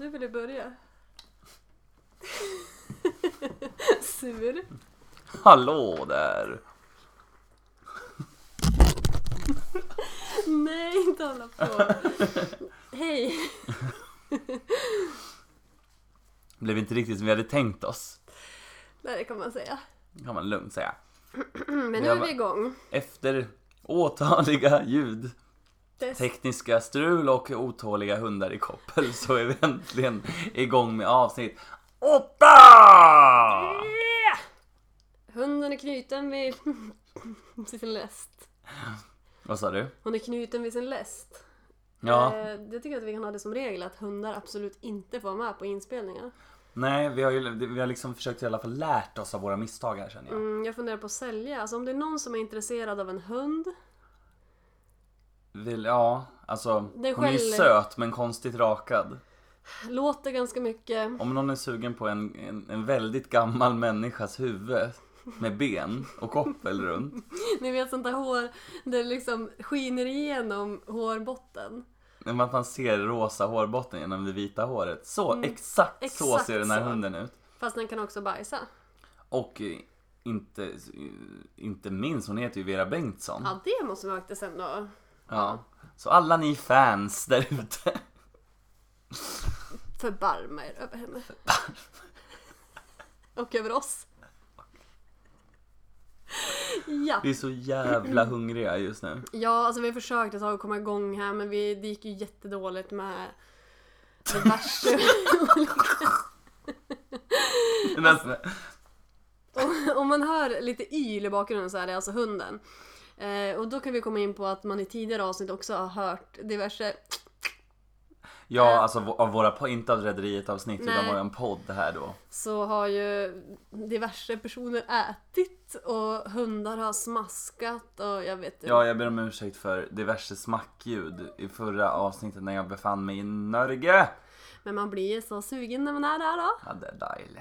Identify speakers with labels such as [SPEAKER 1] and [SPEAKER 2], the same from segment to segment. [SPEAKER 1] ja. Sur.
[SPEAKER 2] Hallå där!
[SPEAKER 1] Nej, inte hålla på. Hej.
[SPEAKER 2] Blev inte riktigt som vi hade tänkt oss.
[SPEAKER 1] Nej, det kan man säga.
[SPEAKER 2] Kan man lugnt säga.
[SPEAKER 1] Men nu
[SPEAKER 2] Jag
[SPEAKER 1] är
[SPEAKER 2] bara-
[SPEAKER 1] vi igång.
[SPEAKER 2] Efter åtaliga ljud,
[SPEAKER 1] Test.
[SPEAKER 2] tekniska strul och otåliga hundar i koppel så är vi äntligen igång med avsnitt åtta!
[SPEAKER 1] Yeah! Hunden är knuten vid sin läst.
[SPEAKER 2] Vad sa du?
[SPEAKER 1] Hon är knuten vid sin läst.
[SPEAKER 2] Ja,
[SPEAKER 1] Eh, Det tycker jag att vi kan ha det som regel att hundar absolut inte får vara med på inspelningar.
[SPEAKER 2] nej vi har ju vi har liksom försökt i alla fall lärt oss av våra misstag här känner jag.
[SPEAKER 1] Mm, jag funderar på att sälja. Alltså om det är någon som är intresserad av en hund.
[SPEAKER 2] Vill, ja, alltså
[SPEAKER 1] Det är
[SPEAKER 2] hon är ju
[SPEAKER 1] själv-
[SPEAKER 2] söt men konstigt rakad.
[SPEAKER 1] Låter ganska mycket.
[SPEAKER 2] Om någon är sugen på en, en, en väldigt gammal människas huvud med ben och koppel runt.
[SPEAKER 1] Ni vet sånt där hår där det liksom skiner igenom hårbotten.
[SPEAKER 2] När man fan ser rosa hårbotten genom det vita håret. Så, exakt, så
[SPEAKER 1] Mm. Exakt
[SPEAKER 2] ser den här
[SPEAKER 1] så.
[SPEAKER 2] hunden ut.
[SPEAKER 1] Fast den kan också bajsa.
[SPEAKER 2] Och eh, inte, eh, inte minst, hon heter ju Vera Bengtsson.
[SPEAKER 1] Ja, det måste vi faktiskt ändå.
[SPEAKER 2] Ja. Så alla ni fans där ute.
[SPEAKER 1] Förbarma er över henne. Och över oss. Ja.
[SPEAKER 2] Vi är så jävla hungriga just nu.
[SPEAKER 1] ja, alltså vi har försökt ett tag att komma igång här men vi, det gick ju jättedåligt med diverse Alltså,
[SPEAKER 2] Nästan.
[SPEAKER 1] Och- Om man hör lite yl i bakgrunden så är det alltså hunden. Eh, och då kan vi komma in på att man i tidigare avsnitt också har hört diverse...
[SPEAKER 2] Ja, alltså v- av våra, po- inte av Rederiet avsnitt utan
[SPEAKER 1] eh. Nej.
[SPEAKER 2] våran podd här då.
[SPEAKER 1] Så har ju diverse personer ätit och hundar har smaskat och jag vet inte.
[SPEAKER 2] Ja, jag ber om ursäkt för diverse smackljud i förra avsnittet när jag befann mig i Norge.
[SPEAKER 1] Men man blir ju så sugen när man är där då.
[SPEAKER 2] Ja, det är dejligt.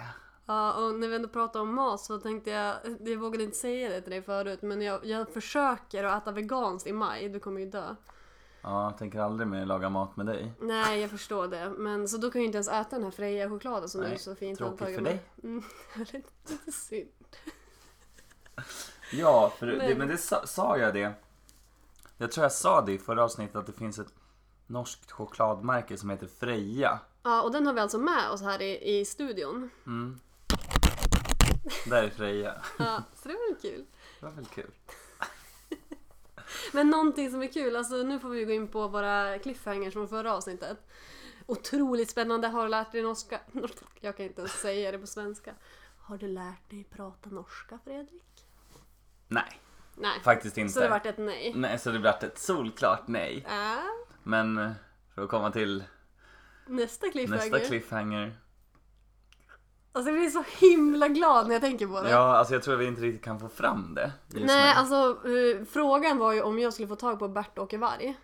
[SPEAKER 1] Ja, och när vi ändå pratar om mat så tänkte jag, jag vågade inte säga det till dig förut, men jag, jag försöker att äta veganskt i maj, du kommer ju dö.
[SPEAKER 2] Ja, jag tänker aldrig mer laga mat med dig.
[SPEAKER 1] Nej, jag förstår det. Men så då kan jag ju inte ens äta den här Freja-chokladen som du
[SPEAKER 2] Nej,
[SPEAKER 1] så fint
[SPEAKER 2] tråkigt
[SPEAKER 1] tagit
[SPEAKER 2] för
[SPEAKER 1] med.
[SPEAKER 2] dig.
[SPEAKER 1] Mm, lite, lite synd.
[SPEAKER 2] Ja, för det,
[SPEAKER 1] Men-
[SPEAKER 2] men det sa, sa jag det. Jag tror jag sa det i förra avsnittet att det finns ett norskt chokladmärke som heter Freja.
[SPEAKER 1] Ja, och den har vi alltså med oss här i, i studion.
[SPEAKER 2] Mm. Där är Freja.
[SPEAKER 1] Ja, så det är väl kul.
[SPEAKER 2] Det var väl kul.
[SPEAKER 1] Men någonting som är kul, alltså nu får vi gå in på våra cliffhangers från förra avsnittet. Otroligt spännande, har du lärt dig norska? Jag kan inte ens säga det på svenska. Har du lärt dig prata norska, Fredrik?
[SPEAKER 2] Nej,
[SPEAKER 1] Nej.
[SPEAKER 2] faktiskt inte. Mm.
[SPEAKER 1] Så det vart ett nej.
[SPEAKER 2] Nej, så det vart ett solklart nej.
[SPEAKER 1] Äh,
[SPEAKER 2] Men eh, för att komma till
[SPEAKER 1] nästa cliffhanger.
[SPEAKER 2] nästa cliffhanger.
[SPEAKER 1] Alltså jag blir så himla glad när jag tänker på det.
[SPEAKER 2] Ja, alltså jag tror vi inte riktigt kan få fram det just
[SPEAKER 1] Nej,
[SPEAKER 2] nu.
[SPEAKER 1] alltså eh, frågan var ju om jag skulle få tag på Bert-Åke Varg.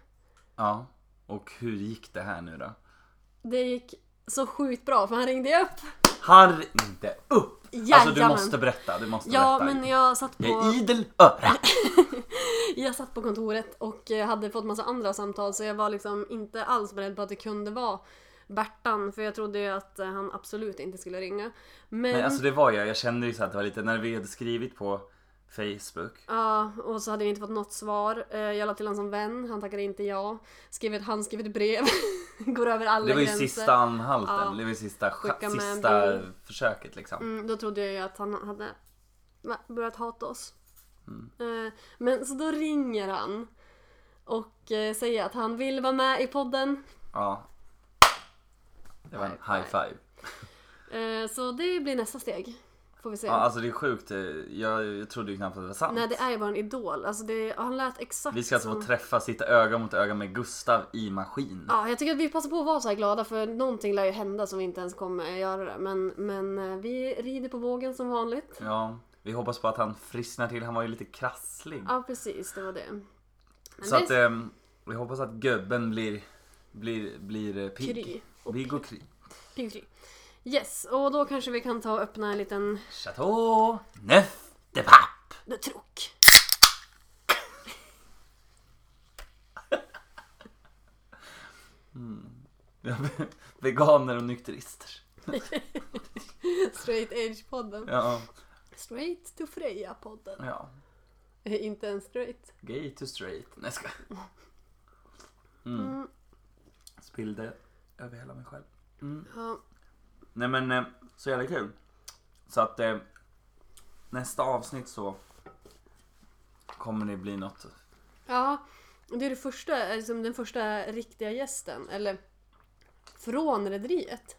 [SPEAKER 2] Ja, och hur gick det här nu då?
[SPEAKER 1] Det gick så sjukt bra för han ringde ju upp.
[SPEAKER 2] Han ringde upp! Alltså du
[SPEAKER 1] Jajamän.
[SPEAKER 2] måste berätta, du måste
[SPEAKER 1] Ja,
[SPEAKER 2] berätta.
[SPEAKER 1] men jag satt,
[SPEAKER 2] Jag är
[SPEAKER 1] på,
[SPEAKER 2] idel öra!
[SPEAKER 1] jag satt på kontoret och eh, hade fått massa andra samtal så jag var liksom inte alls beredd på att det kunde vara Bertan för jag trodde ju att eh, han absolut inte skulle ringa. Men,
[SPEAKER 2] Nej, alltså det var jag, jag kände ju så att det var lite, när vi hade skrivit på Facebook.
[SPEAKER 1] ja, och så hade jag inte fått något svar. Eh, Jag la till honom som vän, han tackade inte ja. Skrev ett handskrivet brev. Går över alla
[SPEAKER 2] Det var ju
[SPEAKER 1] gränser.
[SPEAKER 2] sista anhalten,
[SPEAKER 1] Ja.
[SPEAKER 2] det var ju sista, cha-
[SPEAKER 1] Skicka med en
[SPEAKER 2] sista
[SPEAKER 1] bild.
[SPEAKER 2] försöket liksom.
[SPEAKER 1] Mm, då trodde jag ju att han hade va, börjat hata oss.
[SPEAKER 2] Mm.
[SPEAKER 1] Eh, Men så då ringer han och eh, säger att han vill vara med i podden.
[SPEAKER 2] Ja. Det var en
[SPEAKER 1] High
[SPEAKER 2] high five.
[SPEAKER 1] Eh, Så det blir nästa steg. Får vi se.
[SPEAKER 2] Ja, alltså det är sjukt, eh, jag, jag trodde ju knappt att det var sant.
[SPEAKER 1] Nej det är ju bara en idol. Alltså det, han lät exakt
[SPEAKER 2] Vi ska alltså
[SPEAKER 1] som...
[SPEAKER 2] få träffa, sitta öga mot öga med Gustav i maskin.
[SPEAKER 1] Ja, jag tycker att vi passar på att vara så här glada för någonting lär ju hända som vi inte ens kommer göra det. Men, men eh, vi rider på vågen som vanligt.
[SPEAKER 2] Ja, vi hoppas på att han frisknar till. Han var ju lite krasslig.
[SPEAKER 1] Ja precis, det var det. Men
[SPEAKER 2] så
[SPEAKER 1] det
[SPEAKER 2] att ehm, vi hoppas att gubben blir, blir, blir eh, pigg.
[SPEAKER 1] Kry.
[SPEAKER 2] Pigg och kry.
[SPEAKER 1] Pigg fri. Yes, och då kanske vi kan ta och öppna en liten
[SPEAKER 2] Chateau neuf de papp.
[SPEAKER 1] De Troc.
[SPEAKER 2] Veganer och nykterister.
[SPEAKER 1] Straight Edge-podden.
[SPEAKER 2] Ja,
[SPEAKER 1] Straight to Freja-podden. Eh,
[SPEAKER 2] ja.
[SPEAKER 1] Inte ens straight.
[SPEAKER 2] Gay to straight. Nej, jag skojar.
[SPEAKER 1] Mm.
[SPEAKER 2] Mm. Spillde över hela mig själv. Mm.
[SPEAKER 1] Ja,
[SPEAKER 2] Nej men, eh, så jävla kul. Så att eh, nästa avsnitt så kommer det bli något.
[SPEAKER 1] Ja, det är det första, är liksom den första riktiga gästen, eller från rederiet.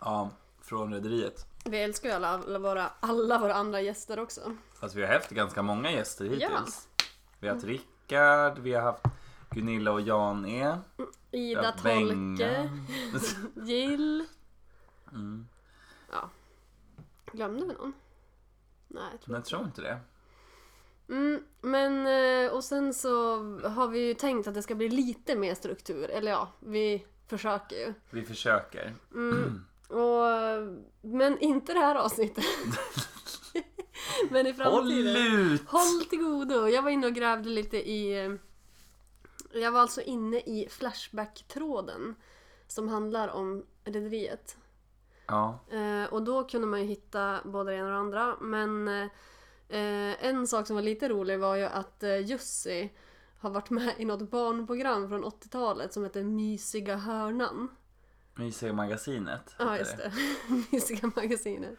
[SPEAKER 2] Ja, från Rederiet.
[SPEAKER 1] Vi älskar ju alla, alla, våra, alla våra andra gäster också.
[SPEAKER 2] Fast vi har haft ganska många gäster hittills. Vi har haft
[SPEAKER 1] Mm.
[SPEAKER 2] Rickard, vi har haft Gunilla och Jan-E. vi har
[SPEAKER 1] Ida
[SPEAKER 2] haft Benga.
[SPEAKER 1] Tolke, Jill.
[SPEAKER 2] Mm.
[SPEAKER 1] Glömde vi någon? Nej, jag tror
[SPEAKER 2] Men jag tror inte det.
[SPEAKER 1] Mm, men eh, och sen så har vi ju tänkt att det ska bli lite mer struktur, eller ja, vi försöker ju.
[SPEAKER 2] Vi försöker.
[SPEAKER 1] Mm. Och, men inte det här avsnittet. men i
[SPEAKER 2] Håll
[SPEAKER 1] framtiden.
[SPEAKER 2] ut!
[SPEAKER 1] Håll till godo! Jag var inne och grävde lite i... eh, Jag var alltså inne i Flashback-tråden som handlar om Rederiet.
[SPEAKER 2] Ja,
[SPEAKER 1] Eh, och då kunde man ju hitta både det ena och det andra. Men eh, eh, en sak som var lite rolig var ju att eh, Jussi har varit med i något barnprogram från 80-talet som heter Mysiga hörnan.
[SPEAKER 2] Mysiga magasinet.
[SPEAKER 1] Ja,
[SPEAKER 2] heter
[SPEAKER 1] just det. Mysiga magasinet.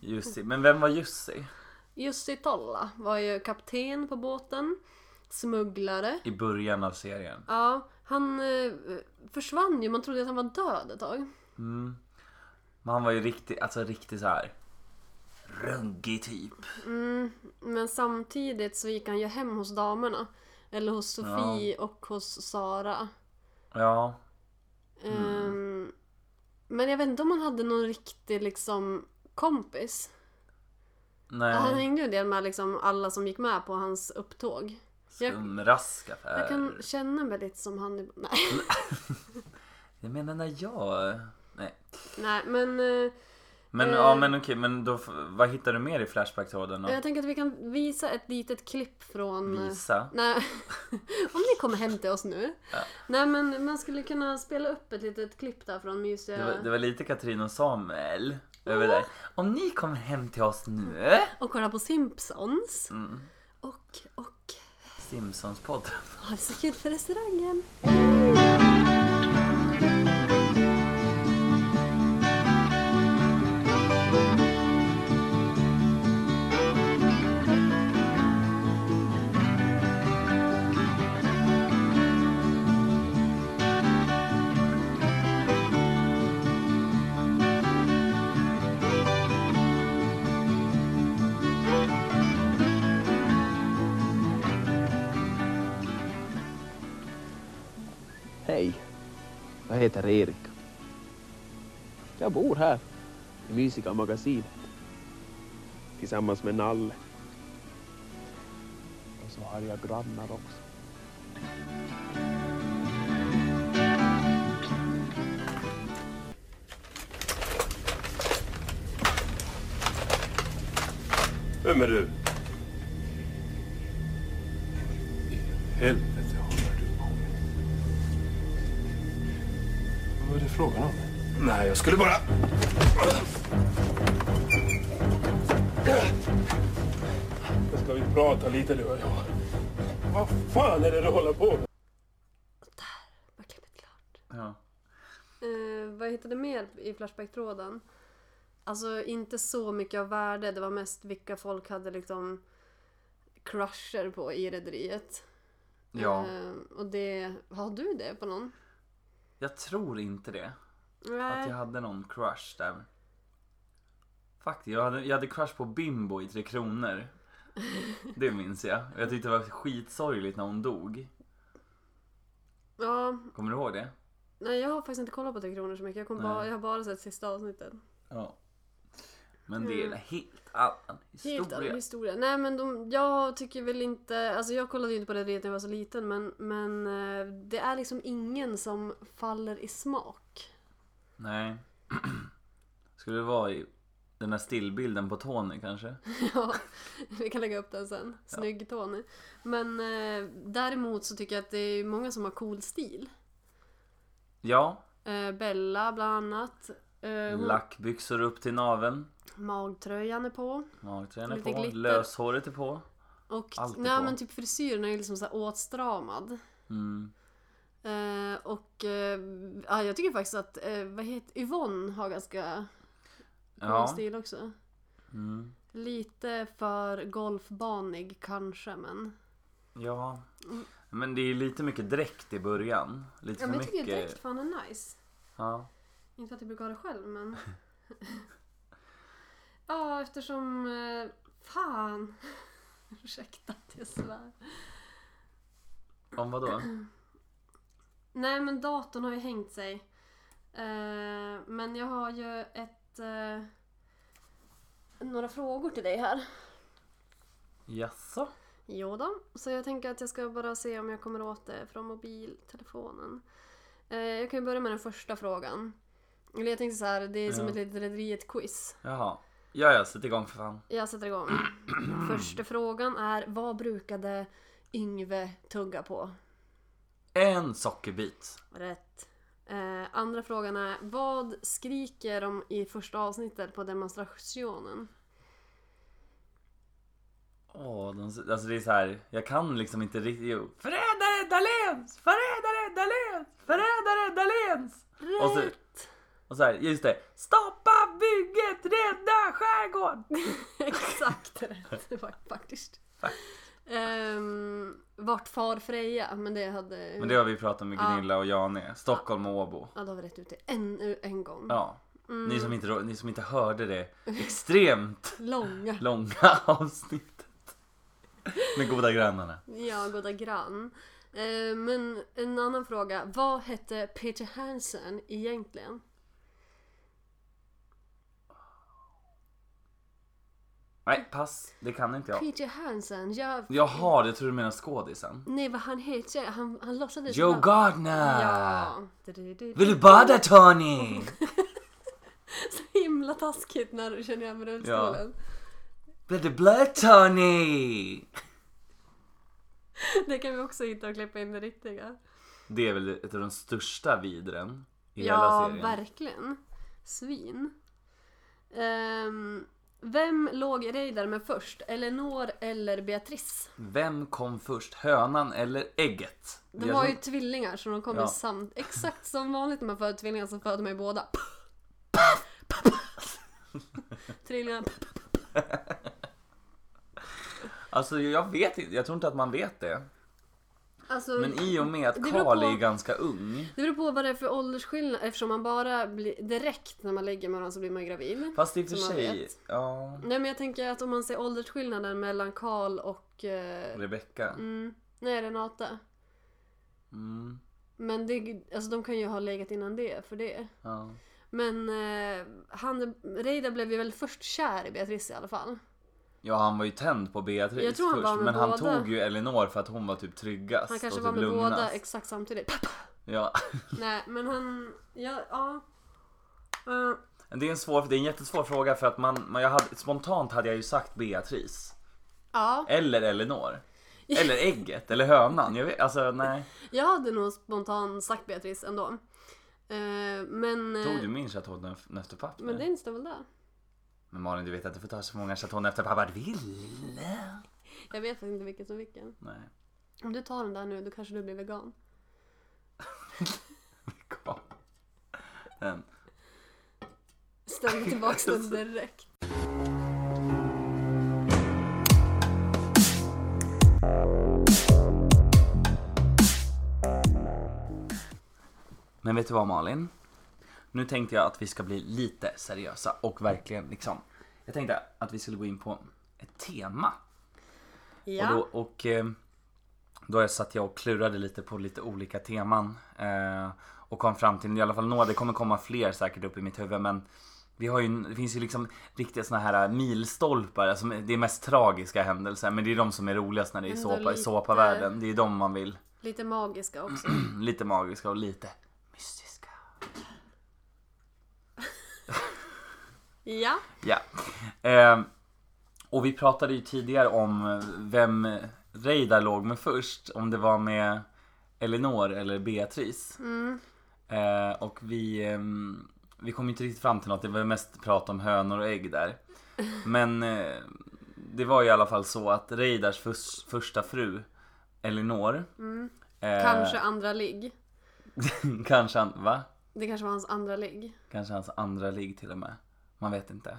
[SPEAKER 2] Jussi. Men vem var Jussi?
[SPEAKER 1] Jussi Tolla var ju kapten på båten, smugglare.
[SPEAKER 2] I början av serien.
[SPEAKER 1] Ja, han eh, försvann ju. Man trodde att han var död ett tag.
[SPEAKER 2] Mm. Men han var ju riktigt, alltså riktigt så här. Ruggig typ.
[SPEAKER 1] Mm, men samtidigt så gick han ju hem hos damerna. Eller hos Sofie och hos Sara.
[SPEAKER 2] Ja, Mm.
[SPEAKER 1] Ehm, men jag vet inte om han hade någon riktig liksom kompis. Han
[SPEAKER 2] nej.
[SPEAKER 1] hängde ju en del med liksom alla som gick med på hans upptåg. jag-
[SPEAKER 2] Skumrask affär.
[SPEAKER 1] Jag kan känna mig lite som han. i- Nej,
[SPEAKER 2] Jag menar när jag... Nej.
[SPEAKER 1] nej men eh,
[SPEAKER 2] Men
[SPEAKER 1] Eh.
[SPEAKER 2] ja, men okej, men då, f- vad hittar du mer i Flashback-tråden?
[SPEAKER 1] jag
[SPEAKER 2] att
[SPEAKER 1] tänker att vi kan visa ett litet klipp från... eh,
[SPEAKER 2] Visa?
[SPEAKER 1] Nej, om ni kommer hem till oss nu.
[SPEAKER 2] Ja.
[SPEAKER 1] Nej men man skulle kunna spela upp ett litet klipp där från mysiga...
[SPEAKER 2] Det var, det var lite Katrin och Samuel över där. Om ni kommer hem till oss nu,
[SPEAKER 1] Och kolla på Simpsons.
[SPEAKER 2] Mm.
[SPEAKER 1] Och, och...
[SPEAKER 2] Simpsons-podden.
[SPEAKER 1] Ha det så kul för restaurangen.
[SPEAKER 3] Hej, jag heter Erik. Jag bor här i mysiga magasinet tillsammans med Nalle. Och så har jag grannar också.
[SPEAKER 4] Vem är du? I helvete håller du på med? Vad är det frågan om? Nej, jag skulle bara... Jag ska vi prata lite du och jag? Vad fan är det du håller på med?
[SPEAKER 1] Var klippet klart?
[SPEAKER 2] Ja.
[SPEAKER 1] Eh, vad jag hittade mer i Flashback-tråden? Alltså inte så mycket av värde. Det var mest vilka folk hade liksom crusher på i rederiet.
[SPEAKER 2] ja,
[SPEAKER 1] Eh, och det... Har du det på någon?
[SPEAKER 2] jag tror inte det. Att
[SPEAKER 1] Nej.
[SPEAKER 2] jag hade någon crush där. Faktiskt, jag hade, jag hade crush på Bimbo i Tre Kronor. Det minns jag. Och jag tyckte det var skitsorgligt när hon dog.
[SPEAKER 1] Ja,
[SPEAKER 2] Kommer du ihåg det?
[SPEAKER 1] nej jag har faktiskt inte kollat på Tre Kronor så mycket. Jag, kom
[SPEAKER 2] Nej.
[SPEAKER 1] bara, jag har bara sett sista avsnittet.
[SPEAKER 2] Ja. Men det är en helt annan historia.
[SPEAKER 1] Helt annan historia. Nej men de, jag tycker väl inte, alltså jag kollade ju inte på Rederiet när jag var så liten men, men eh, det är liksom ingen som faller i smak.
[SPEAKER 2] Nej. Skulle det vara i den här stillbilden på Tony kanske?
[SPEAKER 1] Ja, vi kan lägga upp den sen. Snygg Tony. Men eh, däremot så tycker jag att det är många som har cool stil.
[SPEAKER 2] Ja,
[SPEAKER 1] Eh, Bella bland annat. Eh, hon,
[SPEAKER 2] lackbyxor upp till naveln.
[SPEAKER 1] magtröjan är på.
[SPEAKER 2] Magträn är
[SPEAKER 1] Lite
[SPEAKER 2] på.
[SPEAKER 1] glitter.
[SPEAKER 2] Löshåret är på.
[SPEAKER 1] Och
[SPEAKER 2] Allt är
[SPEAKER 1] nej,
[SPEAKER 2] på.
[SPEAKER 1] men typ frisyren är ju liksom så här åtstramad.
[SPEAKER 2] Mm.
[SPEAKER 1] Eh, och eh, ja, jag tycker faktiskt att eh, vad heter, Yvonne har ganska cool
[SPEAKER 2] Ja.
[SPEAKER 1] stil också.
[SPEAKER 2] Mm.
[SPEAKER 1] Lite för golfbanig kanske men.
[SPEAKER 2] ja. Men det är lite mycket dräkt i början. Lite
[SPEAKER 1] Mm. Ja,
[SPEAKER 2] för
[SPEAKER 1] men jag tycker direkt
[SPEAKER 2] mycket.
[SPEAKER 1] fan är nice.
[SPEAKER 2] Ja.
[SPEAKER 1] Inte att jag brukar ha det själv men. ja eftersom... eh, Fan! Ursäkta att jag svär.
[SPEAKER 2] Om vad då?
[SPEAKER 1] Nej men datorn har ju hängt sig. Eh, men jag har ju ett... eh, några frågor till dig här.
[SPEAKER 2] Jaså?
[SPEAKER 1] Jo då, så jag tänker att jag ska bara se om jag kommer åt det från mobiltelefonen. Eh, jag kan ju börja med den första frågan. Eller jag tänkte så här, det är som
[SPEAKER 2] Ja.
[SPEAKER 1] ett litet Rederiet-quiz.
[SPEAKER 2] Jaha. Ja, ja, sätt igång för fan.
[SPEAKER 1] Jag sätter igång. Första frågan är, vad brukade Yngve tugga på?
[SPEAKER 2] En sockerbit.
[SPEAKER 1] Rätt. Eh, andra frågan är, vad skriker de i första avsnittet på demonstrationen?
[SPEAKER 2] Åh, de, alltså det är så här. Jag kan liksom inte riktigt. Jo. Förrädare Dahléns! Förrädare Dahléns! Förrädare Dahléns! Och så,
[SPEAKER 1] Rätt!
[SPEAKER 2] och så här, just det. Stoppa bygget! Rädda skärgården!
[SPEAKER 1] Exakt rätt, det var faktiskt. Ehm, vart far Freja? Men det hade...
[SPEAKER 2] Men det har vi pratat om med Gunilla och Jane. Stockholm och Åbo.
[SPEAKER 1] Ja, då har vi rätt ut det ännu en gång.
[SPEAKER 2] Ja.
[SPEAKER 1] Mm.
[SPEAKER 2] Ni, som inte, ni som inte hörde det extremt
[SPEAKER 1] Långa.
[SPEAKER 2] långa avsnittet. Med goda grannarna.
[SPEAKER 1] Ja, goda grann. Eh, Men en annan fråga. Vad hette Peter Hansen egentligen?
[SPEAKER 2] Nej, pass. Det kan inte jag.
[SPEAKER 1] Peter Hansen? Jag...
[SPEAKER 2] Jaha, jag tror du menar skådisen.
[SPEAKER 1] Nej, vad han heter? Han, han låtsades...
[SPEAKER 2] Joe
[SPEAKER 1] vara-
[SPEAKER 2] Gardner!
[SPEAKER 1] Ja. Du-du-du-du.
[SPEAKER 2] Vill du bada Tony?
[SPEAKER 1] Himla taskigt när du känner igen rullstolen.
[SPEAKER 2] Blir du blöt Tony?
[SPEAKER 1] Det kan vi också hitta och klippa in det riktiga.
[SPEAKER 2] Det är väl ett av de största vidren i hela
[SPEAKER 1] Ja,
[SPEAKER 2] serien.
[SPEAKER 1] verkligen. Svin. Ehm, vem låg Reidar med först? Eleanor eller Beatrice?
[SPEAKER 2] Vem kom först, hönan eller ägget?
[SPEAKER 1] De
[SPEAKER 2] Jag
[SPEAKER 1] var
[SPEAKER 2] tror-
[SPEAKER 1] ju tvillingar så de kom
[SPEAKER 2] Ja.
[SPEAKER 1] ju samt. Exakt som vanligt när man föder tvillingar så föder man ju båda. trillingar.
[SPEAKER 2] Alltså jag vet inte, jag tror inte att man vet det.
[SPEAKER 1] Alltså,
[SPEAKER 2] Men i och med att
[SPEAKER 1] Det beror
[SPEAKER 2] Karl
[SPEAKER 1] på-
[SPEAKER 2] är ganska ung.
[SPEAKER 1] Det beror på vad det är för åldersskillnad eftersom man bara blir direkt när man ligger med varandra så blir man ju gravid.
[SPEAKER 2] Fast i och för
[SPEAKER 1] Som man
[SPEAKER 2] sig,
[SPEAKER 1] vet.
[SPEAKER 2] ja.
[SPEAKER 1] Nej men jag tänker att om man ser åldersskillnaden mellan Karl och... Eh,
[SPEAKER 2] Rebecka.
[SPEAKER 1] mm, nej, Renata.
[SPEAKER 2] Mm,
[SPEAKER 1] Men det, alltså de kan ju ha legat innan det för det.
[SPEAKER 2] ja.
[SPEAKER 1] Men eh, han, Reidar blev ju väl först kär i Beatrice i alla fall.
[SPEAKER 2] ja, han var ju tänd på Beatrice
[SPEAKER 1] Jag tror han
[SPEAKER 2] först.
[SPEAKER 1] var med
[SPEAKER 2] men han
[SPEAKER 1] båda.
[SPEAKER 2] tog ju Elinor för att hon var typ tryggast
[SPEAKER 1] Han kanske
[SPEAKER 2] och
[SPEAKER 1] var
[SPEAKER 2] typ
[SPEAKER 1] med
[SPEAKER 2] lugnast.
[SPEAKER 1] båda exakt samtidigt. Pappa!
[SPEAKER 2] Ja.
[SPEAKER 1] Nej men han, ja. ja. Eh,
[SPEAKER 2] Men Det är en svår, det är en jättesvår fråga för att man, man jag hade, spontant hade jag ju sagt Beatrice.
[SPEAKER 1] ja,
[SPEAKER 2] Eller Elinor. Eller ägget, eller hönan. Jag vet, alltså nej.
[SPEAKER 1] jag hade nog spontant sagt Beatrice ändå. Eh, men... eh,
[SPEAKER 2] Tog du min Chateau Neuf
[SPEAKER 1] Men den står väl där?
[SPEAKER 2] men Malin du vet att du får ta så många Chateau Neuf du vill.
[SPEAKER 1] Jag vet faktiskt inte vilken som vilken.
[SPEAKER 2] Nej.
[SPEAKER 1] Om du tar den där nu då kanske du blir vegan.
[SPEAKER 2] Kom. Ehm, Den.
[SPEAKER 1] Ställ tillbaka den direkt.
[SPEAKER 2] Men vet du vad Malin? Nu tänkte jag att vi ska bli lite seriösa och verkligen liksom. Jag tänkte att vi skulle gå in på ett tema.
[SPEAKER 1] Ja.
[SPEAKER 2] Och, då, och eh, då satt jag och klurade lite på lite olika teman. Eh, och kom fram till i alla fall några, det kommer komma fler säkert upp i mitt huvud men vi har ju, en- det finns ju liksom riktiga såna här milstolpar, alltså det är mest tragiska händelser men det är de som är roligast när det är
[SPEAKER 1] Ändå
[SPEAKER 2] såpa, i
[SPEAKER 1] lite-
[SPEAKER 2] såpavärlden. Det är de man vill.
[SPEAKER 1] Lite magiska också.
[SPEAKER 2] Lite magiska och lite mystiska.
[SPEAKER 1] ja.
[SPEAKER 2] Ja. Ehm, och vi pratade ju tidigare om eh, vem
[SPEAKER 1] Mm.
[SPEAKER 2] Reidar låg med först. Om det var med Elinor eller Beatrice. Eh, och vi, ehm, vi kom inte riktigt fram till något. Det var mest prat om hönor och ägg där. Men eh, det var i alla fall så att Reidars fus- första fru, Elinor. eh,
[SPEAKER 1] Mm. Kanske andra ligg.
[SPEAKER 2] kanske han, va?
[SPEAKER 1] Det kanske var hans andra ligg.
[SPEAKER 2] Kanske hans andra ligg till och med. Man vet inte.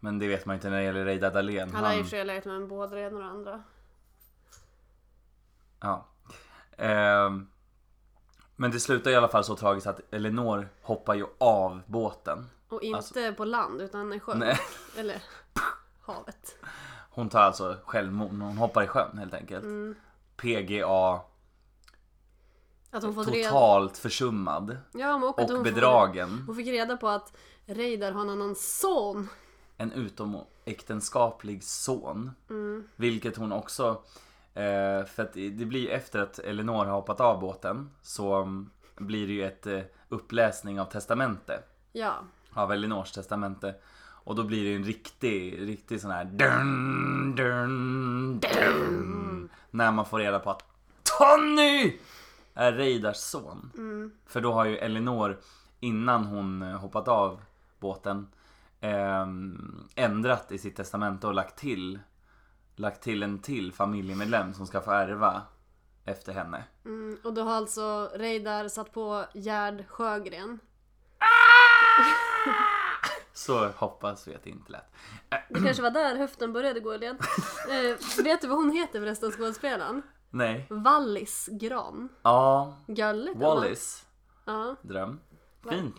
[SPEAKER 2] Men det vet man ju inte när det gäller Reidar Dahlén.
[SPEAKER 1] Han har i och för sig legat med både det ena och det andra.
[SPEAKER 2] Ja. Ehm, men det slutar i alla fall så tragiskt att Elinor hoppar ju av båten.
[SPEAKER 1] Och inte på land utan i sjön.
[SPEAKER 2] Alltså- Nej.
[SPEAKER 1] Eller havet.
[SPEAKER 2] Hon tar alltså självmord, hon hoppar i sjön helt enkelt. PGA
[SPEAKER 1] Att hon fått reda...
[SPEAKER 2] totalt försummad
[SPEAKER 1] Ja, men och att
[SPEAKER 2] och
[SPEAKER 1] hon Fick...
[SPEAKER 2] bedragen.
[SPEAKER 1] Hon fick reda på att Reidar har en annan son.
[SPEAKER 2] En utomäktenskaplig son. Vilket hon också, eh, för att det blir ju efter att Elinor har hoppat av båten så mm, blir det ju ett eh, uppläsning av testamente.
[SPEAKER 1] Ja.
[SPEAKER 2] av Elinors testamente. Och då blir det en riktig, riktig sån här dun, dun, dun, När man får reda på att Tony är Reidars son. För då har ju Elinor innan hon eh, hoppat av båten ehm, ändrat i sitt testamente och lagt till lagt till en till familjemedlem som ska få ärva efter henne.
[SPEAKER 1] Mm, och då har alltså Reidar satt på Gerd Sjögren.
[SPEAKER 2] Så hoppas vi att det inte lät.
[SPEAKER 1] Det kanske var där höften började gå i led. Eh, vet du vad hon heter förresten, skådespelaren?
[SPEAKER 2] Nej.
[SPEAKER 1] Wallis Gran.
[SPEAKER 2] Ja,
[SPEAKER 1] Gulligt. eller?
[SPEAKER 2] Wallis.
[SPEAKER 1] Ja.
[SPEAKER 2] Dröm. Fint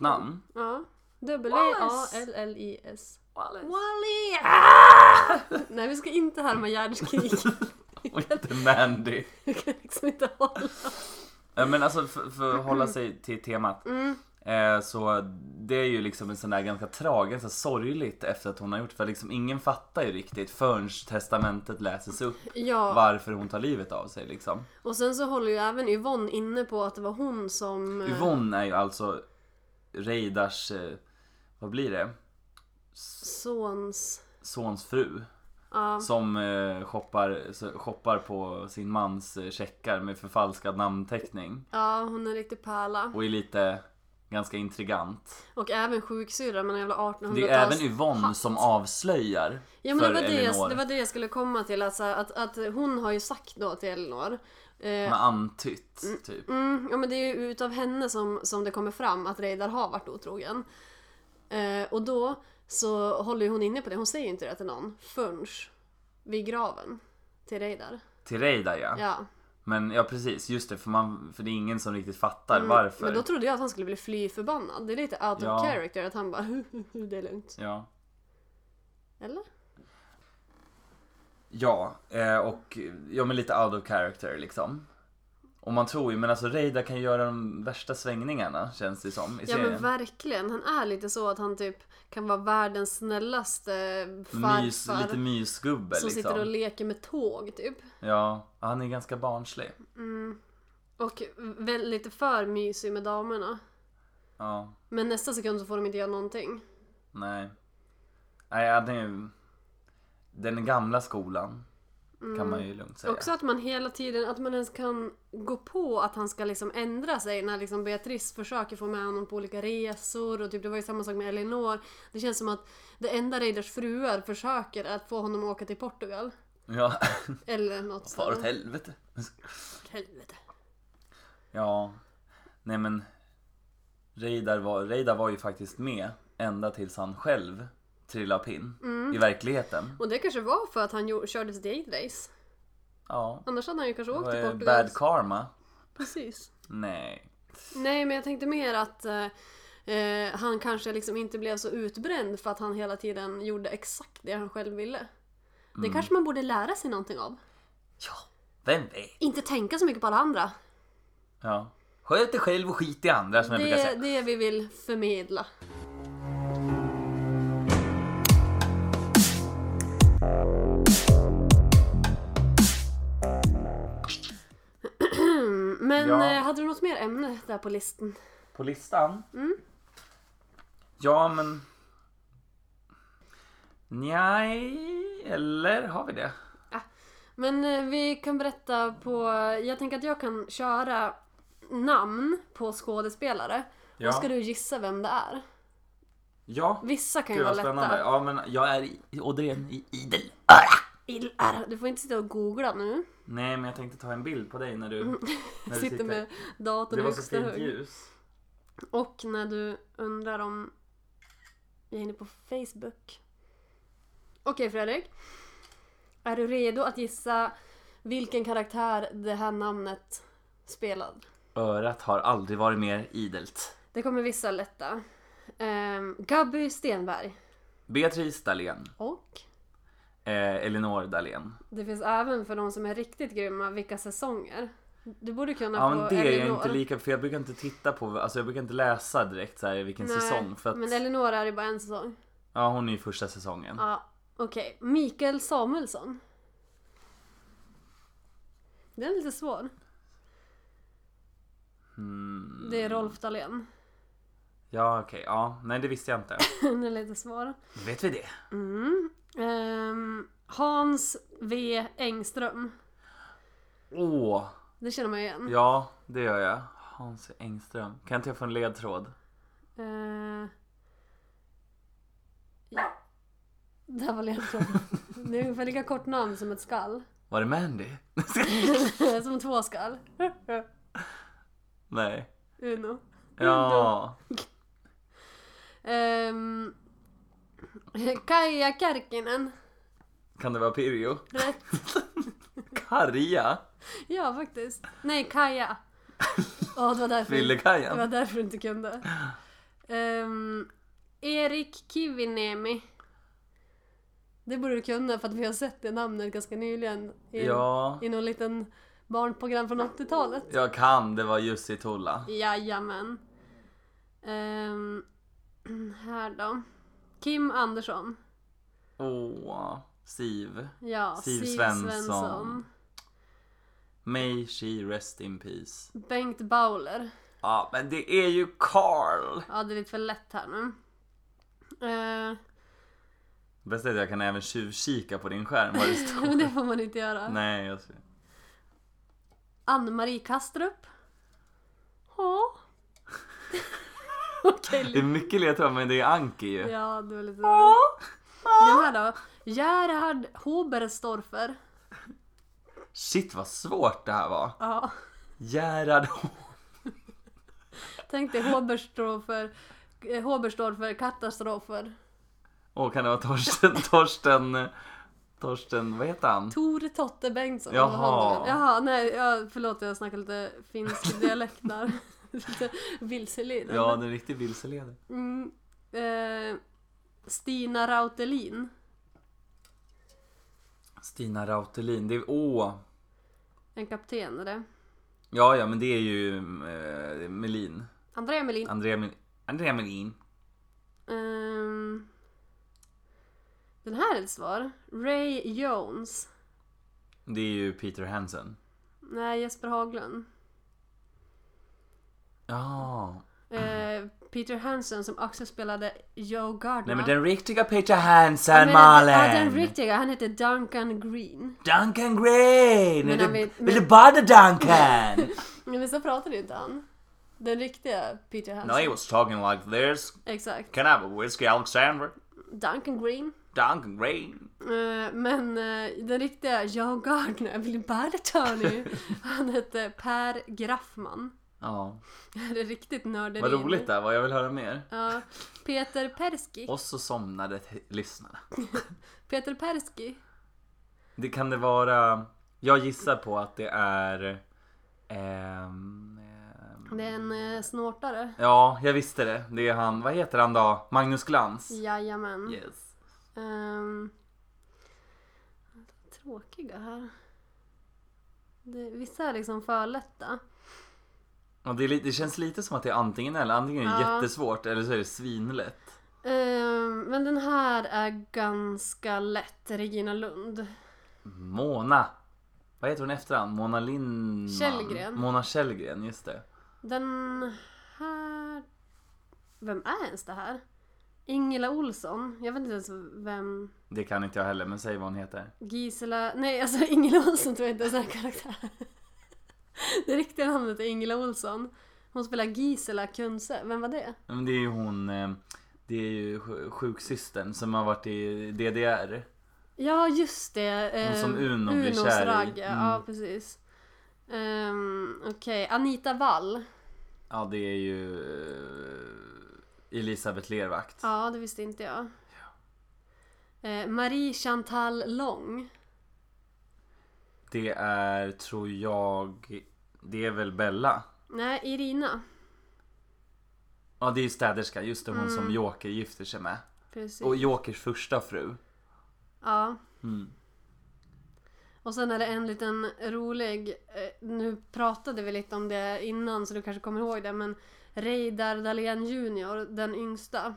[SPEAKER 2] namn.
[SPEAKER 1] ja. W-A-L-L-I-S. Wally!
[SPEAKER 2] Ah!
[SPEAKER 1] Nej, vi ska inte härma hjärnskrik.
[SPEAKER 2] Och inte Mandy.
[SPEAKER 1] Vi kan liksom inte hålla.
[SPEAKER 2] Ja, Men alltså för, för att hålla sig till temat.
[SPEAKER 1] Mm.
[SPEAKER 2] Eh, Så det är ju liksom en sån där ganska tragen, ganska sorgligt efter att hon har gjort för liksom ingen fattar ju riktigt förrän testamentet läses upp
[SPEAKER 1] Ja,
[SPEAKER 2] varför hon tar livet av sig liksom.
[SPEAKER 1] och sen så håller ju även Yvonne inne på att det var hon som... eh,
[SPEAKER 2] Yvonne är ju alltså Reidars, eh, vad blir det?
[SPEAKER 1] Sons...
[SPEAKER 2] Sons fru.
[SPEAKER 1] Ja.
[SPEAKER 2] Som eh, shoppar, så- shoppar på sin mans eh, checkar med förfalskad namnteckning.
[SPEAKER 1] Ja, hon är en riktig pärla.
[SPEAKER 2] Och är lite ganska intrigant.
[SPEAKER 1] Och även sjuksyrra med en jävla 1800-tals...
[SPEAKER 2] Det är även Yvonne som avslöjar
[SPEAKER 1] Mm, Ja men
[SPEAKER 2] för
[SPEAKER 1] det var det,
[SPEAKER 2] Elinor.
[SPEAKER 1] jag, det var det jag skulle komma till, alltså, att, att hon har ju sagt då till Elinor
[SPEAKER 2] Hon
[SPEAKER 1] eh,
[SPEAKER 2] har antytt, typ.
[SPEAKER 1] mm, Ja men det är ju utav henne som, som det kommer fram att Reidar har varit otrogen. Eh, och då så håller ju hon inne på det, hon säger ju inte det till någon förrän vid graven till Reidar.
[SPEAKER 2] Till Reidar ja.
[SPEAKER 1] Ja.
[SPEAKER 2] Men ja precis, just det för, man, för det är ingen som riktigt fattar varför.
[SPEAKER 1] Mm, Men då trodde jag att han skulle bli fly förbannad. Det är lite out of
[SPEAKER 2] Ja.
[SPEAKER 1] character att han bara det är lugnt.
[SPEAKER 2] Ja,
[SPEAKER 1] Eller?
[SPEAKER 2] ja eh, och ja, men lite out of character liksom. Och man tror ju, men alltså Reidar kan göra de värsta svängningarna känns det som i
[SPEAKER 1] Ja men
[SPEAKER 2] serien.
[SPEAKER 1] verkligen, han är lite så att han typ kan vara världens snällaste farfar.
[SPEAKER 2] Mys, lite mysgubbe
[SPEAKER 1] Som
[SPEAKER 2] liksom.
[SPEAKER 1] sitter och leker med tåg typ.
[SPEAKER 2] Ja, han är ganska barnslig.
[SPEAKER 1] Och väl, lite för mysig med damerna.
[SPEAKER 2] Ja,
[SPEAKER 1] Men nästa sekund så får de inte göra någonting.
[SPEAKER 2] nej. Nej, ja, den, är ju- den gamla skolan kan man ju lugnt säga.
[SPEAKER 1] Också att man hela tiden, att man ens kan gå på att han ska liksom ändra sig när liksom Beatrice försöker få med honom på olika resor och typ det var ju samma sak med Elinor. Det känns som att det enda Reidars fruar försöker är att få honom att åka till Portugal.
[SPEAKER 2] Ja,
[SPEAKER 1] Eller något
[SPEAKER 2] far åt
[SPEAKER 1] ställe.
[SPEAKER 2] helvete.
[SPEAKER 1] Helvete.
[SPEAKER 2] Ja, nej men Reidar var, Reidar var ju faktiskt med ända tills han själv trillade pinn i verkligheten.
[SPEAKER 1] Och det kanske var för att han jo- körde sitt eget race.
[SPEAKER 2] Ja,
[SPEAKER 1] Annars hade han ju kanske
[SPEAKER 2] det
[SPEAKER 1] åkt
[SPEAKER 2] var
[SPEAKER 1] till
[SPEAKER 2] ju
[SPEAKER 1] Portugal.
[SPEAKER 2] bad karma.
[SPEAKER 1] Precis.
[SPEAKER 2] Nej.
[SPEAKER 1] Nej, men jag tänkte mer att eh, eh, han kanske liksom inte blev så utbränd för att han hela tiden gjorde exakt det han själv ville. Det
[SPEAKER 2] Mm.
[SPEAKER 1] kanske man borde lära sig någonting av.
[SPEAKER 2] Ja, vem vet?
[SPEAKER 1] Inte tänka så mycket på alla andra.
[SPEAKER 2] Ja. Sköt dig själv och skit i andra som jag
[SPEAKER 1] Det
[SPEAKER 2] brukar
[SPEAKER 1] är
[SPEAKER 2] säga.
[SPEAKER 1] det vi vill förmedla. Men
[SPEAKER 2] Ja.
[SPEAKER 1] eh, hade du något mer ämne där på listan?
[SPEAKER 2] På listan?
[SPEAKER 1] Mm.
[SPEAKER 2] Ja, men... Nej, eller har vi det?
[SPEAKER 1] Men eh, vi kan berätta på... Jag tänker att jag kan köra namn på skådespelare.
[SPEAKER 2] Ja.
[SPEAKER 1] Då ska du gissa vem det är.
[SPEAKER 2] Ja,
[SPEAKER 1] Vissa kan ju
[SPEAKER 2] gud
[SPEAKER 1] vara
[SPEAKER 2] vad spännande.
[SPEAKER 1] lätta.
[SPEAKER 2] Ja, men jag är i- återigen i idel.
[SPEAKER 1] Il- är- äh, Du får inte sitta och googla nu.
[SPEAKER 2] Nej, men jag tänkte ta en bild på dig när du, när du
[SPEAKER 1] Mm. Sitter med
[SPEAKER 2] Det
[SPEAKER 1] datorn i
[SPEAKER 2] var så
[SPEAKER 1] högsta
[SPEAKER 2] fint
[SPEAKER 1] hugg.
[SPEAKER 2] ljus.
[SPEAKER 1] Och när du undrar om jag är inne på Facebook. Okej Fredrik. Är du redo att gissa vilken karaktär det här namnet spelar?
[SPEAKER 2] Örat har aldrig varit mer idelt.
[SPEAKER 1] Det kommer vissa lätta. Um, Gabby Stenberg.
[SPEAKER 2] Beatrice Dahlén.
[SPEAKER 1] Och?
[SPEAKER 2] Eh, Elinor Dahlén.
[SPEAKER 1] Det finns även för de som är riktigt grymma vilka säsonger. Du borde kunna
[SPEAKER 2] Ja
[SPEAKER 1] på
[SPEAKER 2] men det är jag
[SPEAKER 1] Elinor.
[SPEAKER 2] inte lika, för jag brukar inte titta på, alltså jag brukar inte läsa direkt så här i vilken
[SPEAKER 1] Nej,
[SPEAKER 2] säsong för att,
[SPEAKER 1] Men Elinor är det bara en säsong.
[SPEAKER 2] ja hon är ju första säsongen.
[SPEAKER 1] Ja, okej. Mikael Samuelsson. Den är lite svår.
[SPEAKER 2] Mm,
[SPEAKER 1] Det är Rolf Dahlén.
[SPEAKER 2] ja okej, ja, nej det visste jag inte.
[SPEAKER 1] Den är lite svår.
[SPEAKER 2] Nu vet vi det.
[SPEAKER 1] Mm. Ehm, Hans V Engström.
[SPEAKER 2] Åh,
[SPEAKER 1] Det känner man ju igen.
[SPEAKER 2] ja det gör jag. Hans Engström, kan inte jag få en ledtråd?
[SPEAKER 1] Eh, ja. Där var ledtråden. Det är ungefär lika kort namn som ett skall.
[SPEAKER 2] Var det Mandy?
[SPEAKER 1] som två skall.
[SPEAKER 2] nej.
[SPEAKER 1] Uno.
[SPEAKER 2] Ja.
[SPEAKER 1] Um, Kaja Kärkinen.
[SPEAKER 2] Kan det vara Pirjo?
[SPEAKER 1] Rätt.
[SPEAKER 2] Karja?
[SPEAKER 1] Ja, faktiskt. Nej, Kaja. Ja, det var därför. Det var
[SPEAKER 2] Fyllekajen?
[SPEAKER 1] därför du inte kunde. Ehm, Erik Kiviniemi. Det borde du kunna för att vi har sett det namnet ganska nyligen. I,
[SPEAKER 2] Ja.
[SPEAKER 1] I någon liten barnprogram från 80-talet.
[SPEAKER 2] Jag kan, det var Jussi Tulla.
[SPEAKER 1] Jajamän. Ehm, här då. Kim Andersson.
[SPEAKER 2] Åh, Siv.
[SPEAKER 1] Ja,
[SPEAKER 2] Siv Svensson. May she rest in peace.
[SPEAKER 1] Bengt Bauler.
[SPEAKER 2] Ja, men det är ju Carl!
[SPEAKER 1] Ja, det är lite för lätt här nu. Eh,
[SPEAKER 2] Bäst är att jag kan även tjuvkika på din skärm vad det står.
[SPEAKER 1] men det får man inte göra.
[SPEAKER 2] Nej, jag ser.
[SPEAKER 1] Ann-Marie Kastrup. Ja. Okej,
[SPEAKER 2] Det är mycket ledtrådar, men det är Anki ju.
[SPEAKER 1] ja det var lite... Den här då. Gerhard Hoberstorfer.
[SPEAKER 2] Shit vad svårt det här var.
[SPEAKER 1] Ja.
[SPEAKER 2] Gerhard
[SPEAKER 1] Tänk dig Hoberstorfer, eh, Hoberstorfer, katastrofer.
[SPEAKER 2] Åh, kan det vara Torsten, Torsten, Torsten, vad heter han?
[SPEAKER 1] Tor Totte Bengtsson.
[SPEAKER 2] Jaha.
[SPEAKER 1] eller vad han heter. Jaha, nej, ja, förlåt jag snackar lite finsk dialekt där. lite vilseledande.
[SPEAKER 2] Ja, den riktigt vilseledare.
[SPEAKER 1] Mm, eh, Stina Rautelin.
[SPEAKER 2] Stina Rautelin, det är, åh.
[SPEAKER 1] En kapten är det.
[SPEAKER 2] Ja, ja, men det är ju eh, Melin.
[SPEAKER 1] Andrea Melin.
[SPEAKER 2] Andrea, Mel- Andrea Melin.
[SPEAKER 1] Ehm, den här är ett svar. Ray Jones.
[SPEAKER 2] Det är ju Peter Hansen.
[SPEAKER 1] Nej, Jesper Haglund.
[SPEAKER 2] Ja.
[SPEAKER 1] Eh, Peter Hansen som också spelade Joe Gardner.
[SPEAKER 2] Nej men den riktiga Peter Hansen
[SPEAKER 1] Jag menar,
[SPEAKER 2] Malin!
[SPEAKER 1] den- Ja, den riktiga. Han heter Duncan Green.
[SPEAKER 2] Duncan
[SPEAKER 1] Men
[SPEAKER 2] Green! Vill,
[SPEAKER 1] han
[SPEAKER 2] du,
[SPEAKER 1] vet-
[SPEAKER 2] vill du
[SPEAKER 1] men-
[SPEAKER 2] bada Duncan?
[SPEAKER 1] Men så pratade inte han. Den riktiga Peter
[SPEAKER 2] no
[SPEAKER 1] Hansen.
[SPEAKER 2] he was talking like this.
[SPEAKER 1] Exakt.
[SPEAKER 2] Can I have a whiskey Alexander?
[SPEAKER 1] Duncan Green.
[SPEAKER 2] Duncan Green.
[SPEAKER 1] Eh, Men eh, den riktiga Joe Gardner, Billy Bartony, han hette Per Graffman.
[SPEAKER 2] Ja.
[SPEAKER 1] Det är riktigt nörderi.
[SPEAKER 2] Vad roligt det här var, jag vill höra mer.
[SPEAKER 1] Ja. Peter Perski.
[SPEAKER 2] Och så somnade t- lyssnarna.
[SPEAKER 1] Peter Perski.
[SPEAKER 2] Det kan det vara... Jag gissar på att det är... ehm, ehm,
[SPEAKER 1] Det är en eh, snortare.
[SPEAKER 2] ja, jag visste det. Det är han, vad heter han då? Magnus Glans?
[SPEAKER 1] Mm. Jajamän.
[SPEAKER 2] Yes.
[SPEAKER 1] Ehm, tråkiga här. Det, vissa är liksom för lätta.
[SPEAKER 2] Och det, är, li- det känns lite som att det är antingen eller. Antingen är det
[SPEAKER 1] Ja.
[SPEAKER 2] jättesvårt eller så är det svinlätt.
[SPEAKER 1] Ehm, men den här är ganska lätt. Regina Lund.
[SPEAKER 2] Mona. Vad heter hon efternamn? Mona Lindman?
[SPEAKER 1] Källgren.
[SPEAKER 2] Mona Källgren, just det.
[SPEAKER 1] Den här... Vem är ens det här? Ingela Olsson. Jag vet inte ens vem...
[SPEAKER 2] Det kan inte jag heller, men säg vad hon heter.
[SPEAKER 1] Gisela... Nej, alltså Ingela Olsson tror jag inte ens är en karaktär. Det riktiga namnet är Ingela Olsson. Hon spelar Gisela Kunze. Vem var det?
[SPEAKER 2] Ja, Men det är ju hon, eh, det är ju sj- sjuksystern som har varit i DDR.
[SPEAKER 1] Ja, just det.
[SPEAKER 2] Hon som
[SPEAKER 1] Eh,
[SPEAKER 2] Uno blir
[SPEAKER 1] Unos
[SPEAKER 2] kär i.
[SPEAKER 1] ragg. Ja,
[SPEAKER 2] Mm.
[SPEAKER 1] precis. Um, Okej, Anita Wall.
[SPEAKER 2] Ja, det är ju eh, Elisabeth Lervakt.
[SPEAKER 1] Ja, det visste inte jag. Eh, Marie Chantal Long.
[SPEAKER 2] Det är, tror jag, det är väl Bella?
[SPEAKER 1] Nej, Irina.
[SPEAKER 2] Ja, det är ju städerska. Just det, hon
[SPEAKER 1] Mm.
[SPEAKER 2] som Joker gifter sig med.
[SPEAKER 1] Precis.
[SPEAKER 2] Och Jokers första fru.
[SPEAKER 1] Ja.
[SPEAKER 2] Mm.
[SPEAKER 1] Och sen är det en liten rolig, eh, nu pratade vi lite om det innan så du kanske kommer ihåg det, men Reidar Dahlén Junior, den yngsta.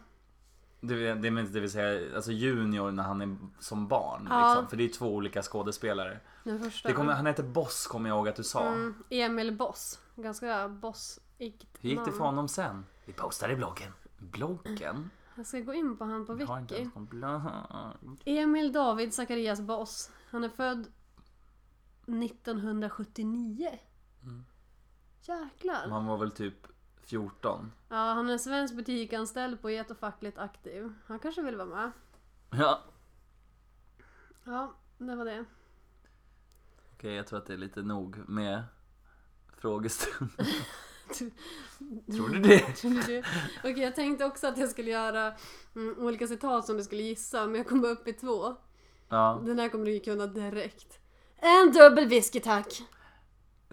[SPEAKER 2] Det, vill- det, minns- det vill säga alltså Junior när han är som barn.
[SPEAKER 1] Ja.
[SPEAKER 2] Liksom, för det är två olika skådespelare.
[SPEAKER 1] Den första.
[SPEAKER 2] Det kommer, han heter Boss kommer jag ihåg att du sa.
[SPEAKER 1] Mm, Emil Boss. Ganska bossigt
[SPEAKER 2] Hur gick det
[SPEAKER 1] namn.
[SPEAKER 2] för honom sen? Vi postar i bloggen. Bloggen?
[SPEAKER 1] Jag ska gå in på han på
[SPEAKER 2] Jag har inte
[SPEAKER 1] Wiki.
[SPEAKER 2] ens någon blogg.
[SPEAKER 1] Emil David Zacharias Boss. Han är född 1979.
[SPEAKER 2] Mm.
[SPEAKER 1] Jäklar.
[SPEAKER 2] Han var väl typ 14.
[SPEAKER 1] Ja, han är svensk butikanställd, poet och fackligt aktiv. Han kanske vill vara med.
[SPEAKER 2] Ja.
[SPEAKER 1] Ja, det var det.
[SPEAKER 2] Okej, jag tror att det är lite nog med frågestund. tror du det?
[SPEAKER 1] Tror du det? Okej, jag tänkte också att jag skulle göra mm, olika citat som du skulle gissa, men jag kom bara upp i två.
[SPEAKER 2] Ja,
[SPEAKER 1] Den här kommer du kunna direkt. En dubbel whisky tack!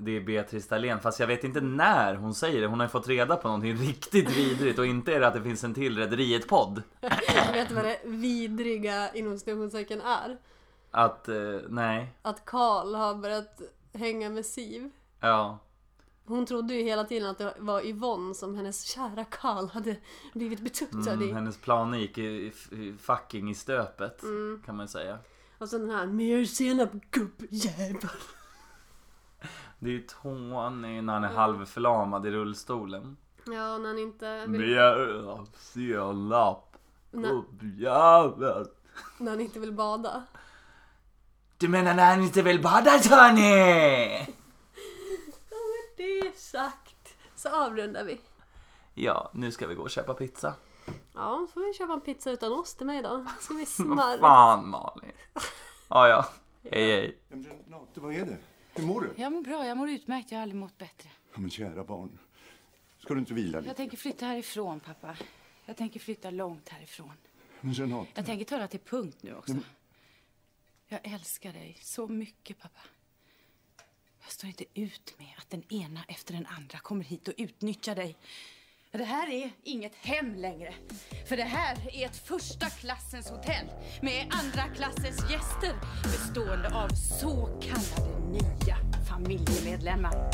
[SPEAKER 2] det är Beatrice Dahlén, fast jag vet inte när hon säger det. Hon har ju fått reda på någonting riktigt vidrigt och inte är det att det finns en till Rederiet-podd.
[SPEAKER 1] Jag vet vad det vidriga inom citationstecken är?
[SPEAKER 2] Att, eh, nej,
[SPEAKER 1] Att Karl har börjat hänga med Siv.
[SPEAKER 2] ja.
[SPEAKER 1] Hon trodde ju hela tiden att det var Yvonne som hennes kära Karl hade blivit betuttad
[SPEAKER 2] Mm,
[SPEAKER 1] i.
[SPEAKER 2] hennes planer gick i, i, i, fucking i stöpet, kan man ju säga.
[SPEAKER 1] Och så den här mer senap gubbjävel.
[SPEAKER 2] Det är ju Tony när han är halvförlamad i rullstolen.
[SPEAKER 1] Ja, när han inte vill,
[SPEAKER 2] Mer senap,
[SPEAKER 1] när,
[SPEAKER 2] gubbjävel.
[SPEAKER 1] när han inte vill bada.
[SPEAKER 2] Du menar när han inte vill bada Tony?
[SPEAKER 1] Ja, men det är sagt. Så avrundar vi.
[SPEAKER 2] Ja, nu ska vi gå och köpa pizza.
[SPEAKER 1] Ja, så får vi köpa en pizza utan oss till mig då. Ska vi
[SPEAKER 2] Vad
[SPEAKER 1] smarra?
[SPEAKER 2] fan Malin. Ja, ja. Hej, hej.
[SPEAKER 5] Ja, men Renate, vad är det? Hur mår du?
[SPEAKER 6] Jag mår bra, jag mår utmärkt. Jag har aldrig mått bättre.
[SPEAKER 5] Ja, men kära barn, ska du inte vila
[SPEAKER 6] Jag
[SPEAKER 5] lite?
[SPEAKER 6] tänker flytta härifrån, pappa. Jag tänker flytta långt härifrån.
[SPEAKER 5] Men Renate,
[SPEAKER 6] Jag tänker tala till punkt nu också. Jag älskar dig så mycket, pappa. Jag står inte ut med att den ena efter den andra kommer hit och utnyttjar dig. Det här är inget hem längre. För det här är ett första klassens hotell med andra klassens gäster bestående av så kallade nya familjemedlemmar.